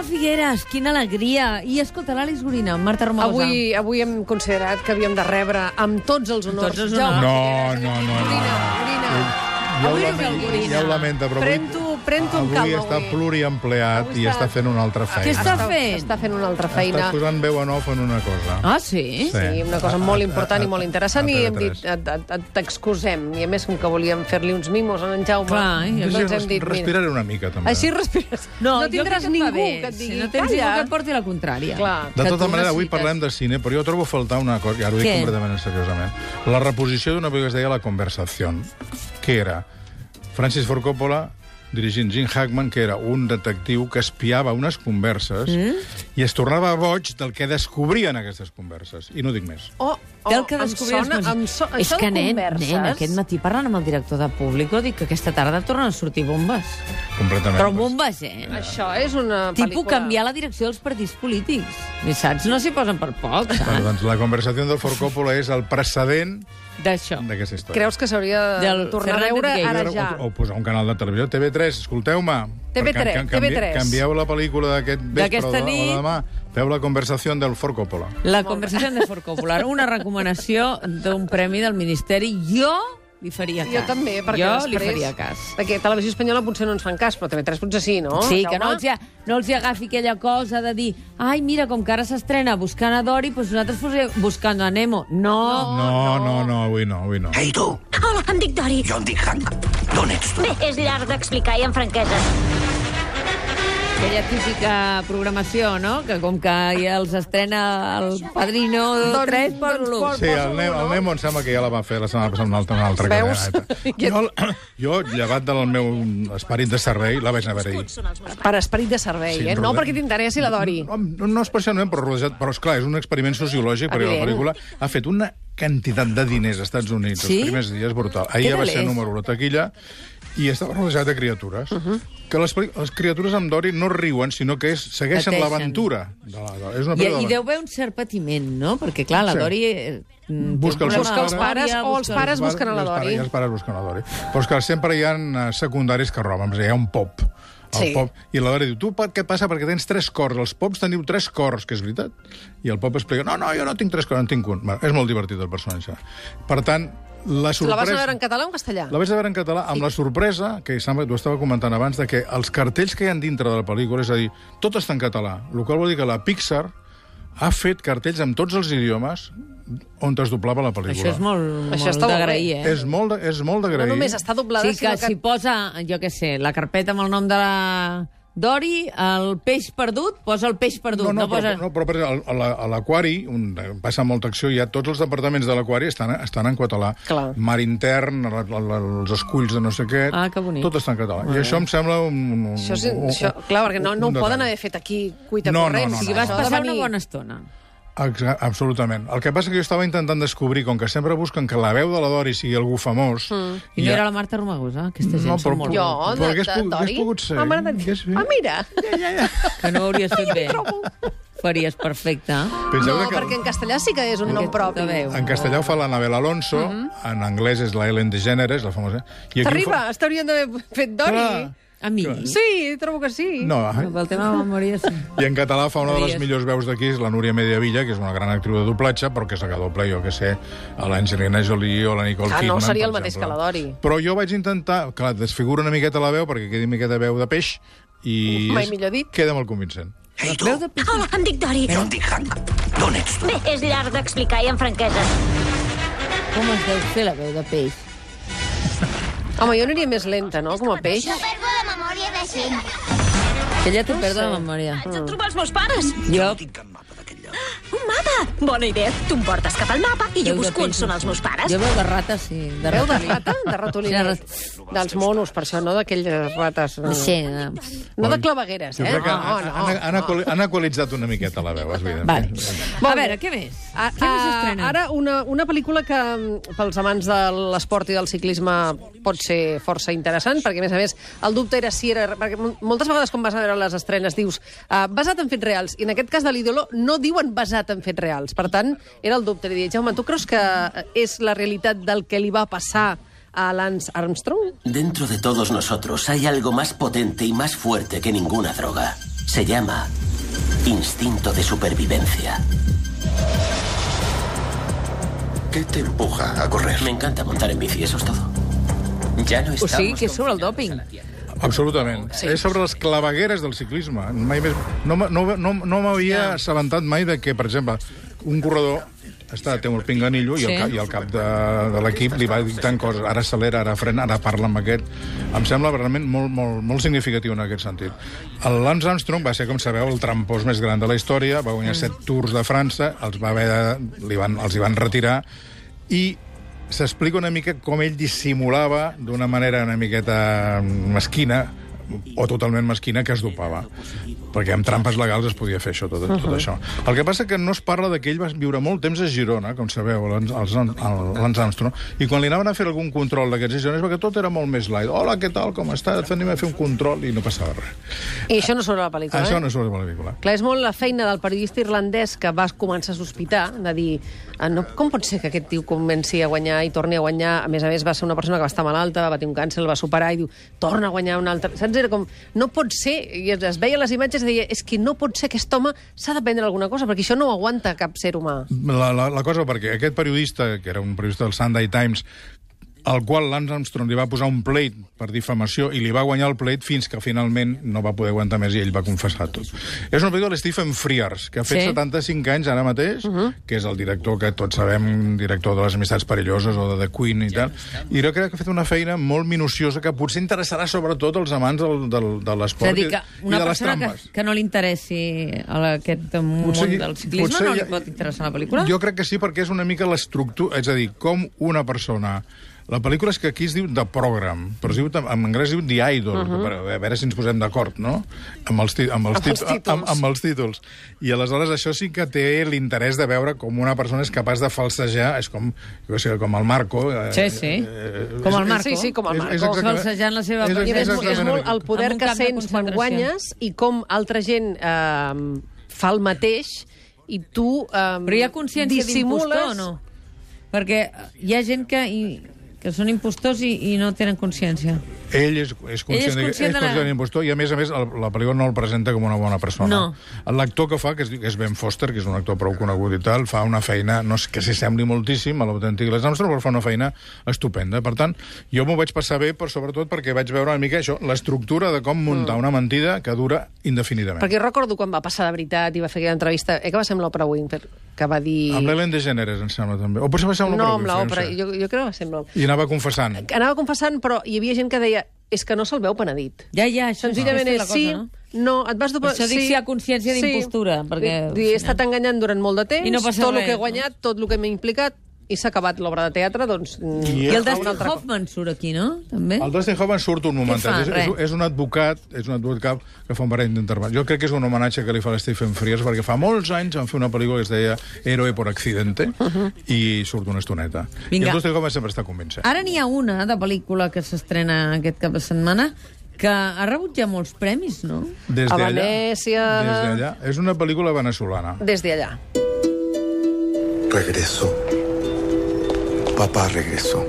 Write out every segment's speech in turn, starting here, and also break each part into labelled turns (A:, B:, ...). A: Figueres, quina alegria. I escolta, l'Àlex Gorina, Marta Romagosa.
B: Avui, avui hem considerat que havíem de rebre amb tots els honors.
A: tots els
B: Jaume
A: honors.
B: Figueres,
C: No, no, no, no.
B: Gorina, Gorina.
C: Ja ho,
B: Avui no ve el
C: lamento,
B: Gorina.
C: ja ho lamento, però
B: Pren-t'ho pren amb
C: avui
B: calma.
C: està
B: avui.
C: pluriempleat
B: Avui
C: i
B: està-
C: està fent una altra feina.
A: Què està fent?
B: Està fent una altra
C: Està
B: feina.
C: posant veu en off en una cosa.
A: Ah, sí?
B: Sí, una cosa
C: A-
B: molt
C: a-
B: important
C: a-
B: i molt interessant
C: a
B: i hem
C: TV3.
B: dit, et- et- et- t'excusem. I a més, com que volíem fer-li uns mimos a en Jaume,
A: Clar, i
C: Jo
A: Doncs
C: sí,
B: doncs hem
C: res-
B: dit... mira,
C: respiraré una mica, també.
B: Així respires.
A: No,
B: no
A: jo
B: tindràs
A: crec que et va
B: ningú
A: bé,
B: que et digui...
A: Si no tens
B: "Calla".
A: ningú que et porti la contrària.
B: Clar,
C: De
B: que
C: tota
B: tu
C: manera, avui
B: necessites.
C: parlem de cine, però jo trobo a faltar una cosa, i ara ho dic
A: Què?
C: completament seriosament. La reposició d'una pel·lícula que es deia La Conversació, que era Francis Ford Coppola dirigint Gene Hackman, que era un detectiu que espiava unes converses mm? i es tornava boig del que descobrien aquestes converses. I no dic més.
B: Oh, oh,
A: Del eh, que
B: em
A: descobriràs
B: sona,
A: coses.
B: em so,
D: És
B: això
D: que,
B: de
D: nen,
B: converses...
D: nen, aquest matí parlant amb el director de Público dic que aquesta tarda tornen a sortir bombes.
C: Completament.
A: Però bombes, eh?
B: Això és una
A: Tipo
B: pel·lícula...
A: canviar la direcció dels partits polítics. I saps? No s'hi posen per poc,
C: Bueno,
A: saps?
C: doncs la conversació del Ford Coppola és el precedent
A: D'això.
C: d'aquesta història.
B: Creus que s'hauria de
A: Del
B: tornar a
A: Fernández
B: veure
A: Gay.
B: ara
C: Veure-
B: ja?
C: O, o posar un canal de televisió, TV3, escolteu-me.
B: TV3,
C: Perquè en- canvi-
B: TV3.
C: Canvieu la pel·lícula d'aquest vespre
A: D'aquesta
C: o de, o
A: nit.
C: de demà. Feu la conversació del Ford Coppola.
A: La conversació de Fort Popular, una recomanació d'un premi del Ministeri. Jo li faria cas.
B: Jo també, perquè
A: jo
B: després...
A: li faria cas.
B: Perquè Televisió Espanyola potser no ens fan cas, però TV3 potser sí, no?
A: Sí,
B: Oh, Jaume?
A: que no els, hi- no els hi agafi aquella cosa de dir ai, mira, com que ara s'estrena Buscant a Dory, doncs nosaltres posem Buscant a Nemo. Oh, No,
C: No, no, no, avui no, avui no.
E: Ei, tu!
F: Hola, em dic Dori.
E: Jo em dic Hank. D'on ets tu?
F: Bé, és llarg d'explicar i amb franquesa.
A: aquella típica programació, no? Que com que ja els estrena el Padrino
B: Doncs-
A: 3 per
B: doncs
A: l'1.
B: posa-
C: Sí, el, ne el Nemo em sembla que ja la va fer la setmana passada una altra, una altra
B: Veus?
C: cadena. eh, Jo, jo, llevat del meu esperit de servei, la vaig anar a veure ahir.
B: Per esperit de servei,
C: Sí,
B: eh?
C: però
B: No
C: de-
B: perquè t'interessi la Dori.
C: No, no, no especialment, però rodejat... Però, esclar, és un experiment sociològic, perquè la
B: Evident.
C: pel·lícula ha fet una quantitat de diners als Estats Units
A: Sí?
C: els primers dies, brutal. Ahir
A: Què
C: ja va ser
A: tal és?
C: número 1 taquilla i estava rodejat de criatures.
A: Uh-huh.
C: Uh -huh. Que les, pel·li- les criatures amb Dory no riuen, sinó que és, segueixen
A: Pateixen.
C: l'aventura. de la- de- És una
A: I,
C: pel·lícula
A: I
C: d'aventura.
A: deu haver un cert patiment, no? Perquè, clar, la
C: Sí.
A: Dori... eh, mm, té
C: Busca
A: un
C: els
A: problema
C: busca
A: de
C: els
A: memòria,
B: pares o els
A: busca-
B: pares- busquen a la
C: I els
B: Dori.
C: pares- I els pares busquen a la Dori. Però és que sempre hi ha eh, secundaris que roben, és a dir, hi ha un pop. El
B: Sí.
C: pop. I la Dori diu, tu per què passa? Perquè tens tres cors. Els pops teniu tres cors, que és veritat. I el pop explica, no, no, jo no tinc tres cors, en tinc un. Bueno, és molt divertit el personatge. Per tant, la sorpresa...
B: La vas a veure en català o en castellà?
C: La vaig a veure en català amb la sorpresa, que sembla que t'ho estava comentant abans, de que els cartells que hi ha dintre de la pel·lícula, és a dir, tot està en català, el qual vol dir que la Pixar ha fet cartells amb tots els idiomes on es doblava la pel·lícula.
A: Això és molt,
B: Això
A: molt
B: està molt bé.
A: d'agrair, eh?
C: És molt, de- és molt
B: No
C: d'agrair.
B: només està doblada,
A: Sí, que,
B: sinó que...
A: si posa, jo què sé, la carpeta amb el nom de la Dori, el peix perdut, posa el peix perdut.
C: No, no,
A: posa...
C: però, no, però per exemple, a la- a l'aquari on passa molta acció, ja tots els departaments de l'aquari estan, estan en català.
B: Clar.
C: Mar intern, la, la, la, els esculls de no sé què...
A: Ah, que bonic.
C: Tot està en català. I això em sembla un... un, un
B: Això, és,
C: un,
B: això, clar, perquè no,
C: un
B: no ho
C: detall.
B: poden haver fet aquí cuita
C: oh, No, no,
B: corrent.
C: no,
B: O
A: I
B: sigui,
C: no,
A: vas
B: això ha de
A: passar
B: venir-
A: una bona estona.
C: Exa absolutament. El que passa que jo estava intentant descobrir, com que sempre busquen que la veu de la Dori sigui algú famós... Mm.
A: I no era la Marta Romagosa, aquesta gent
C: No,
A: són
C: però-
A: molt...
B: Jo,
C: Però
B: de,
C: hagués
B: de,
C: pogut-
B: Dori?
C: hagués pogut ser.
B: Ah, m'agrada-
C: Hagués fet.
B: ah, mira!
A: Que no ho hauries fet bé. Faries perfecte.
C: Penseu
B: No,
C: que...
B: perquè en castellà sí que és un nom propi.
A: veu.
C: En castellà ho fa l'Anabel Alonso, en anglès és la Ellen DeGeneres, la famosa... I ho
B: Mm-hmm. T'arriba,
C: fa-
B: es t'haurien d'haver fet Dori.
C: Clar.
A: A mi.
B: Sí, trobo que sí.
C: No, eh?
A: Pel tema de la memòria, sí.
C: i en català fa una de les
A: Hauries.
C: millors veus d'aquí, és la Núria Mediavilla, que és una gran actriu de doblatge, però que és la que dobla, jo que sé, a l'Angelina Jolie o la Nicole
B: Ah,
C: Kidman.
B: no, seria
C: per
B: el mateix
C: exemple.
B: que la Dori.
C: Però jo vaig intentar... Clar, desfigura una miqueta la veu, perquè quedi una miqueta veu de peix, i
B: Mai
C: és-
B: millor dit.
C: queda molt convincent.
E: Ei, tu!
A: Veu de peix?
F: Hola, em dic Dori.
E: Jo em dic Hank. D'on ets tu?
F: Bé, és llarg d'explicar i amb franquesa.
D: Com es deu fer la veu de peix?
B: Home, jo aniria més lenta, no?, com a peix.
F: perdo la memòria de gent.
A: Ella té perd la memòria.
F: Haig de trobar els meus pares.
A: Jo,
E: No tinc cap mapa d'aquest lloc.
F: Un mapa! Bona idea. Tu em portes cap al mapa i jo
A: Veu de
F: busco on
A: peix,
F: són
A: no
F: els
A: sé.
F: meus pares.
A: jo veu de rata, sí. De
B: Veu de
A: ratolí.
B: rata, de ratoliner. Dels monos, per això, no d'aquelles rates. No,
A: Sí, de-
B: no de clavegueres,
C: Jo
B: eh?
C: crec que
B: No,
C: han,
B: no.
C: han, han, equali- han equalitzat una miqueta la veu, evidentment.
A: Vale. A veure, què més?
B: A,
A: Què més
B: a,
A: Ah, estrena?
B: Ah, ara, una, una pel·lícula que mm, pels amants de l'esport i del ciclisme pot ser força interessant, perquè, a més a més, el dubte era si era... Perquè mol- moltes vegades quan vas a veure les estrenes dius uh, basat en fets reals, i en aquest cas de l'Idolo no diuen basat en fets reals. Per tant, era el dubte. Li deia, Jaume, tu creus que eh, és la realitat del que li va passar a Lance Armstrong?
G: Dentro de todos nosotros hay algo más potente y más fuerte que ninguna droga. Se llama Instinto de supervivencia.
H: ¿Qué te empuja a correr?
G: Me encanta montar en bici, eso es todo. Ya no
B: O
A: Pues
G: estamos...
B: sigui, que és sobre el doping.
C: Absolutament. Sí, és sobre les clavegueres del ciclisme. Mai més... No, m'ha- no, no, no m'havia assabentat mai de que, per exemple, un corredor està, té un pinganillo i, el, cap, i el cap de, de l'equip li va dictant coses. Ara accelera, ara frena, ara parla amb aquest. Em sembla realment molt, molt, molt significatiu en aquest sentit. El Lance Armstrong va ser, com sabeu, el trampós més gran de la història, va guanyar
B: Mm.
C: set tours de França, els, va haver de, li van, els hi van retirar, i s'explica una mica com ell dissimulava d'una manera una miqueta mesquina o totalment mesquina, que es dopava. Perquè amb trampes legals es podia fer això, tot, tot això. El que passa que no es parla de que ell va viure molt temps a Girona, com sabeu, l'Ans- els- el- l'Ans Armstrong, i quan li anaven a fer algun control d'aquests gironers, perquè tot era molt més light. Hola, què tal, com està? Fem a fer un control i no passava res.
B: I això no surt a la pel·lícula,
C: Això
B: eh?
C: no surt a la pel·lícula.
B: Clar, és molt la feina del periodista irlandès que va començar a sospitar, de dir, "Ah, no, com pot ser que aquest tio comenci a guanyar i torni a guanyar? A més a més, va ser una persona que va estar malalta, va tenir un càncer, el va superar i diu, torna a guanyar un altre... Saps? Era com, no pot ser, i es, es veia les imatges i deia, és que no pot ser, aquest home s'ha de prendre alguna cosa, perquè això no ho aguanta cap ser humà.
C: la, la, la cosa perquè aquest periodista, que era un periodista del Sunday Times, al qual Lance Armstrong li va posar un pleit per difamació i li va guanyar el pleit fins que finalment no va poder aguantar més i ell va confessar tot. És una pel·lícula de Stephen Frears, que ha fet
I: Sí.
C: sí. 75 anys ara mateix, uh
A: Uh-huh.
C: -huh. que és el director que tots sabem, director de les Amistats Perilloses o de The Queen i tal, i jo crec que ha fet una feina molt minuciosa que potser interessarà sobretot als amants del, del, de
A: És a
C: l'esport i,
A: dir, que
C: i
A: una
C: de les
A: persona que,
C: trampes.
A: que no li interessi a la- aquest món
C: Potser-
A: del ciclisme
C: potser
A: no li
C: ja-
A: pot interessar la pel·lícula?
C: Jo crec que sí, perquè és una mica l'estructura... És a dir, com una persona... La pel·lícula és que aquí es diu The Program, però es diu, tam- en anglès es diu The Idol, uh
A: Mhm.
C: -huh. a veure si ens posem d'acord, no? Amb els, ti- amb, els,
B: Amb els
C: tit-
B: títols.
C: amb, amb els títols. I aleshores això sí que té l'interès de veure com una persona és capaç de falsejar, és com, jo sé, com el Marco... Eh,
A: Sí, sí.
C: és-
A: Com el Marco.
B: Sí, sí, com el Marco.
C: És, és exactament-
A: Falsejant la seva
C: és-
A: presència.
B: I és, és, és
C: exactament
B: molt el
C: igual.
B: poder
A: Amb un
B: que
A: camp de
B: sents quan
A: concentració.
B: guanyes i com altra gent eh, fa el mateix i tu eh,
A: Però hi ha consciència d'impostor o no? Perquè hi ha gent que, i, que són impostors i, i no tenen consciència.
C: Ell és, és conscient, de-
A: conscient
C: és
A: de la-
C: conscient impostor i, a més a més, el, la pel·lícula no el presenta com una bona persona.
A: No.
C: L'actor que fa, que es, diu- que és Ben Foster, que és un actor prou conegut i tal, fa una feina no és que s'hi sembli moltíssim a l'autèntic Les Armstrong, però fa una feina estupenda. Per tant, jo m'ho vaig passar bé, però sobretot perquè vaig veure una mica això, l'estructura de com muntar una mentida que dura indefinidament.
B: Perquè recordo quan va passar de veritat i va fer aquella entrevista, eh, que va ser amb l'Oprah Winfrey, que va dir...
C: Amb l'Ellen DeGeneres, em sembla, també. O potser va ser amb
B: no, amb
C: Oprah
B: l'Oprah,
C: Winfrey, no sé.
B: jo, jo crec que va ser amb l'Oprah.
C: I anava confessant.
B: Anava confessant, però hi havia gent que deia és que no se'l veu penedit.
A: Ja, ja, això
B: Senzillament
A: Doncs aquesta
B: és,
A: la
B: Doncs sí,
A: cosa, no?
B: no, et vas dopar...
A: Per això dic si hi ha consciència d'impostura, perquè,
B: Dir,
A: al
B: he estat enganyant durant molt de temps,
A: I no passa
B: tot el
A: res,
B: que he guanyat, tot el que m'he implicat, i s'ha acabat l'obra de teatre, doncs...
C: I
A: I
C: és
A: el Dustin Hoffman surt aquí, no? També?
C: El Dustin Hoffman surt un moment.
A: fa?
C: És, és,
A: Eh? Res.
C: és, un advocat, és un advocat que fa un parell d'intervals. Jo crec que és un homenatge que li fa a Stephen Frears, perquè fa molts anys van fer una pel·lícula que es deia Héroe por accidente, uh -huh. i surt una estoneta.
A: Vinga.
C: I el Dustin Hoffman sempre està convincent.
A: Ara n'hi ha una de pel·lícula que s'estrena aquest cap de setmana que ha rebut ja molts premis, no?
C: Des
B: A
C: d'allà-
B: Venècia.
C: Des d'allà. És una pel·lícula venezolana.
B: Des d'allà.
H: Regresó. Papá regresó.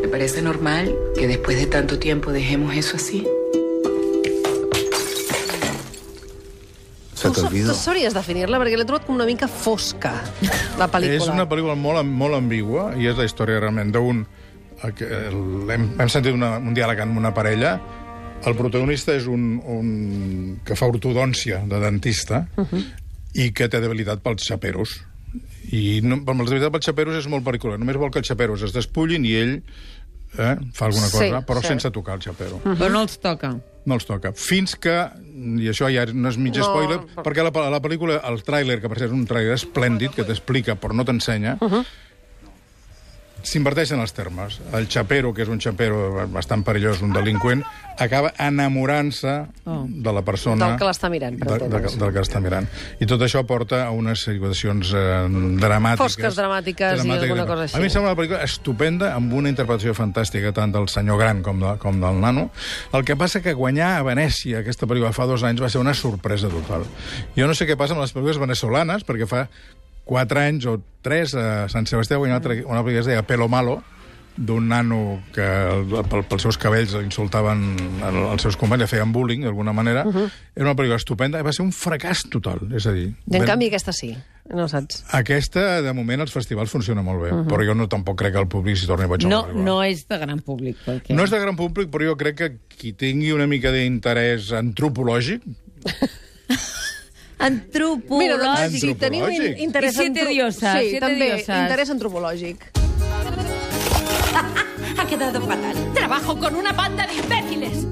J: ¿Te parece normal que después de tanto tiempo dejemos eso así?
H: Se te
B: Tu,
H: olvidó.
B: tu sabries definir-la? Perquè l'he trobat com una mica fosca, la pel·lícula.
C: És una pel·lícula molt, am- molt ambigua i és la història realment d'un... a que el- Hem, hem sentit una, un diàleg amb una parella. El protagonista és un, un que fa ortodòncia de dentista uh
B: Mhm.
C: -huh. i que té debilitat pels xaperos. I no, amb la debilitat pels xaperos és molt particular. Només vol que els xaperos es despullin i ell eh, fa alguna
B: Sí,
C: cosa, però
B: sí.
C: sense tocar el xapero.
A: Però no els toca.
C: No els toca. Fins que, i això ja no és mig no, spoiler, perquè la, la pel·lícula, el tràiler, que per cert és un tràiler esplèndid, que t'explica però no t'ensenya,
B: Uh-huh.
C: uh -huh. s'inverteixen els termes. El xapero, que és un xapero bastant perillós, un delinqüent, acaba enamorant-se oh. de la persona...
B: Del que l'està mirant, per
C: De, de,
B: entendre's.
C: del que l'està mirant. I tot això porta a unes situacions eh, dramàtiques.
B: Fosques, dramàtiques i alguna cosa així.
C: A mi em sembla una pel·lícula estupenda, amb una interpretació fantàstica tant del senyor Gran com, de, com del nano. El que passa que guanyar a Venècia aquesta pel·lícula fa dos anys va ser una sorpresa total. Jo no sé què passa amb les pel·lícules venezolanes, eh, perquè fa quatre anys o tres a Sant Sebastià va guanyar una altra- una pel·lícula que es deia Pelo Malo, d'un nano que pel, pels seus cabells insultaven el- els seus companys, feien bullying, d'alguna manera. Uh -huh. Era una pel·lícula estupenda i va ser un fracàs total, és a
B: I
C: dir...
B: en
C: ben-
B: canvi aquesta sí, no saps.
C: Aquesta, de moment, als festivals funciona molt bé, uh
B: Mhm.
C: -huh. però jo no tampoc crec que el públic s'hi torni boig. amb la
A: No,
C: pel·lícula.
A: no és de gran públic, perquè...
C: No és de gran públic, però jo crec que qui tingui una mica d'interès antropològic...
I: Antropològic.
C: doncs,
B: si teniu in-
C: Antropològic.
B: interès...
I: I siete
B: antro-
I: diosas,
B: Sí,
I: siete
B: també,
I: diosas.
B: interès antropològic.
K: Ha quedado fatal. Trabajo con una banda de imbéciles.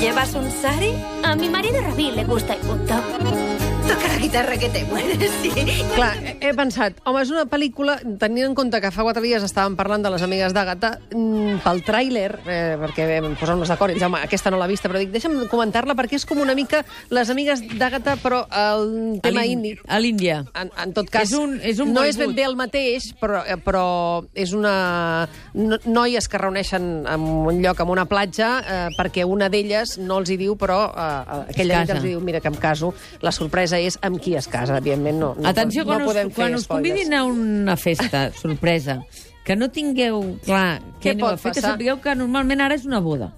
F: ¿Llevas un sari? A mi marido Rabí le gusta y punto. Toca la guitarra que te mueres, sí.
B: Clar, he pensat, home, és una pel·lícula, tenint en compte que fa quatre dies estàvem parlant de les amigues d'Àgata, mm, pel tràiler, eh, perquè vam posar-nos d'acord, i el Jaume, aquesta no l'ha vista, però dic, deixa'm comentar-la, perquè és com una mica les amigues d'Àgata, però el
A: A
B: tema
A: l'Ín-
B: indi.
A: A l'Índia.
B: En, en tot cas,
A: És un- és un
B: no
A: Bollywood.
B: és ben bé el mateix, però, eh, però és una... No, noies que reuneixen en un lloc, en una platja, eh, perquè una d'elles no els hi diu, però eh, aquella
A: casa.
B: nit els hi diu, mira que em caso. La sorpresa és amb qui es casa, evidentment no, no,
A: Atenció,
B: no
A: quan,
B: podem
A: us, quan
B: fer
A: us
B: spoilers.
A: convidin a una festa, sorpresa, que no tingueu clar
B: Què
A: què, aneu a
B: pot
A: fer, que
B: passar?
A: sapigueu que normalment ara és una boda.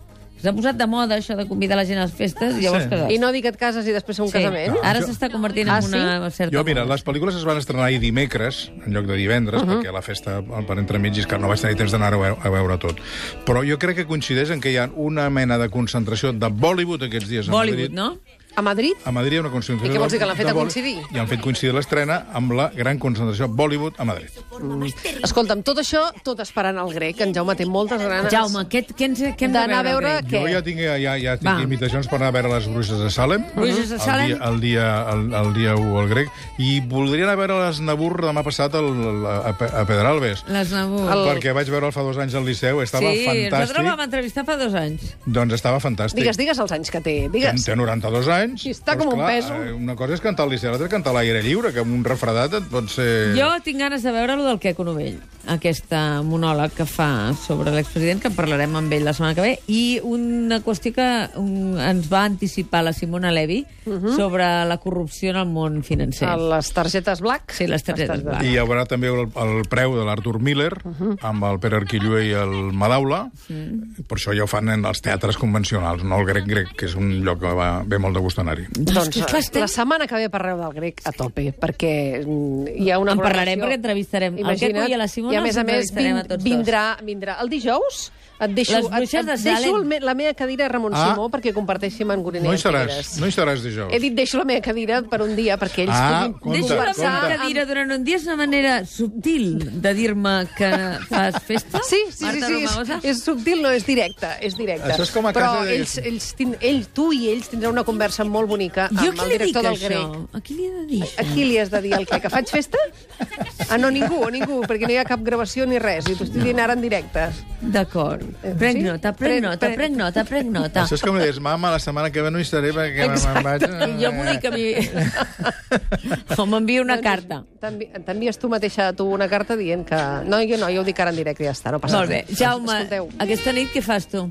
A: S'ha posat de moda això de convidar la gent a les festes i llavors
C: Sí.
A: casar.
B: I no dir que et cases i després ser un casament.
A: Ara s'està convertint en
B: Ah, sí?
A: una certa...
C: Jo, mira,
A: moda.
C: les pel·lícules es van estrenar ahir dimecres, en lloc de divendres, uh
B: Mhm.
C: -huh. perquè la festa per entremig és que no vaig tenir temps d'anar-ho a, a veure tot. Però jo crec que coincideix en que hi ha una mena de concentració de Bollywood aquests dies. a
A: Bollywood,
C: Madrid.
A: no?
B: A Madrid?
C: A Madrid hi ha una concentració...
B: I què vols dir, que l'han
C: de
B: fet a
C: Bolly-
B: coincidir?
C: I han fet coincidir l'estrena amb la gran concentració Bollywood a Madrid.
B: Escolta'm, tot això, tot esperant el grec. En Jaume té moltes ganes
A: Jaume, què, què, ens, què hem de
B: d'anar a veure...
A: Greg?
C: Jo
B: Què?
C: ja tinc, ja, ja tinc
A: Va.
C: invitacions per anar a veure les bruixes de Salem.
A: Bruixes de Salem.
C: El dia, el dia, el, el dia 1 al grec. I voldria anar a veure les Nabur demà passat al, al, a, Pe- a Pedralbes.
A: Les Nabur.
C: El... Perquè vaig veure'l fa dos anys al Liceu, estava
A: sí,
C: fantàstic.
A: nosaltres vam entrevistar fa dos anys.
C: Doncs estava fantàstic.
B: Digues, digues els anys que té.
C: Ten-
B: Digues.
C: Té 92 anys.
B: I està com un peso.
C: eh, Una cosa és cantar al Liceu, l'altra és cantar a l'aire lliure, que amb un refredat et pot ser...
A: Jo tinc ganes de veure lo del Queco Novell, aquesta monòleg que fa sobre l'expresident, que en parlarem amb ell la setmana que ve, i una qüestió que mm, ens va anticipar la Simona Levy
B: Mhm.
A: sobre la corrupció en el món financer.
B: A les targetes black.
A: Sí, les targetes black.
C: I hi haurà també el, el preu de l'Arthur Miller,
B: Mhm.
C: amb el Pere Arquillué i el Madaula. Per això ja ho fan en els teatres convencionals, no el grec grec, que és un lloc que va, ve molt de gust anar-hi.
B: Doncs
A: que, clar, estem-
B: la setmana que ve parleu del grec a tope, perquè mm, hi ha una
A: En parlarem,
B: programació.
A: perquè entrevistarem el
B: Imagina't,
A: Queco i a la Simona
B: I a més
A: els
B: a més
A: entrevistarem a tots dos.
B: vindrà, vindrà el dijous. Et deixo,
A: Les bruixes
B: et,
A: de
B: et deixo
A: Salem.
B: el, me- la meva cadira a Ramon
C: Ah.
B: Simó perquè comparteixi amb en Gorinell.
C: No hi seràs, no hi seràs
B: He
C: dijous.
B: dit deixo la meva cadira per un dia perquè ells
C: Ah,
B: puguin
C: compte,
A: Deixo la
B: conversar.
A: meva
C: compte.
B: amb-
A: cadira durant un dia és una manera subtil de dir-me que fas festa.
B: Sí, sí, sí,
A: Marta
B: sí és,
A: Romagosa?
B: és subtil, no, és directe, és directe.
C: Això és com a
B: Però
C: casa de-
B: ells, ells tin, ell, tu i ells tindreu una conversa molt bonica
A: Jo
B: amb
A: qui
B: el
A: li dic
B: director del
A: això?
B: grec.
A: A qui li he de dir això?
B: A qui li has de dir el què? Que faig festa? Ah, no, ningú, ningú, perquè no hi ha cap gravació ni res. I t'ho estic dient ara en directe.
A: D'acord. Prenc
B: Eh, Sí?
A: nota, prenc
B: Pren-
A: nota,
B: pren-
A: prenc nota, prenc nota.
C: Ah. Això és com li dius, mama, la setmana que ve no hi seré perquè me'n vaig...
A: I jo m'ho dic a mi... o m'envia una carta.
B: T'envi- T'envies tu mateixa tu una carta dient que... No, jo no, jo ho dic ara en directe i ja està, no passa
A: Molt bé.
B: res.
A: Jaume,
B: Escolteu,
A: aquesta nit què fas tu?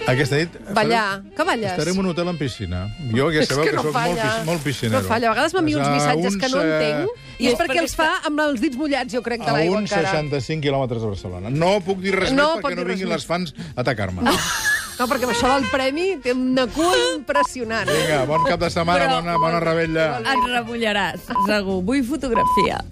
C: Aquesta nit...
B: ballar, que balles?
C: Estarem en un hotel en piscina. Jo, que
B: És
C: sabeu que,
B: no
C: sóc molt,
B: falla.
C: pis, molt piscinero.
B: No falla. A vegades m'envia uns
C: Doncs a
B: missatges que no
C: uns, eh,
B: entenc. I és perquè els fa amb els dits mullats, jo crec, de
C: A
B: l'aigua
C: uns
B: encara.
C: 65 quilòmetres de Barcelona. No puc dir res
B: No
C: més
B: pot
C: perquè no
B: dir res
C: vinguin
B: més.
C: les fans a atacar-me.
B: No, perquè amb això del premi té una cua impressionant. eh?
C: Vinga, bon cap de setmana, bona, bona rebella.
A: Ens remullaràs, segur. Vull fotografia.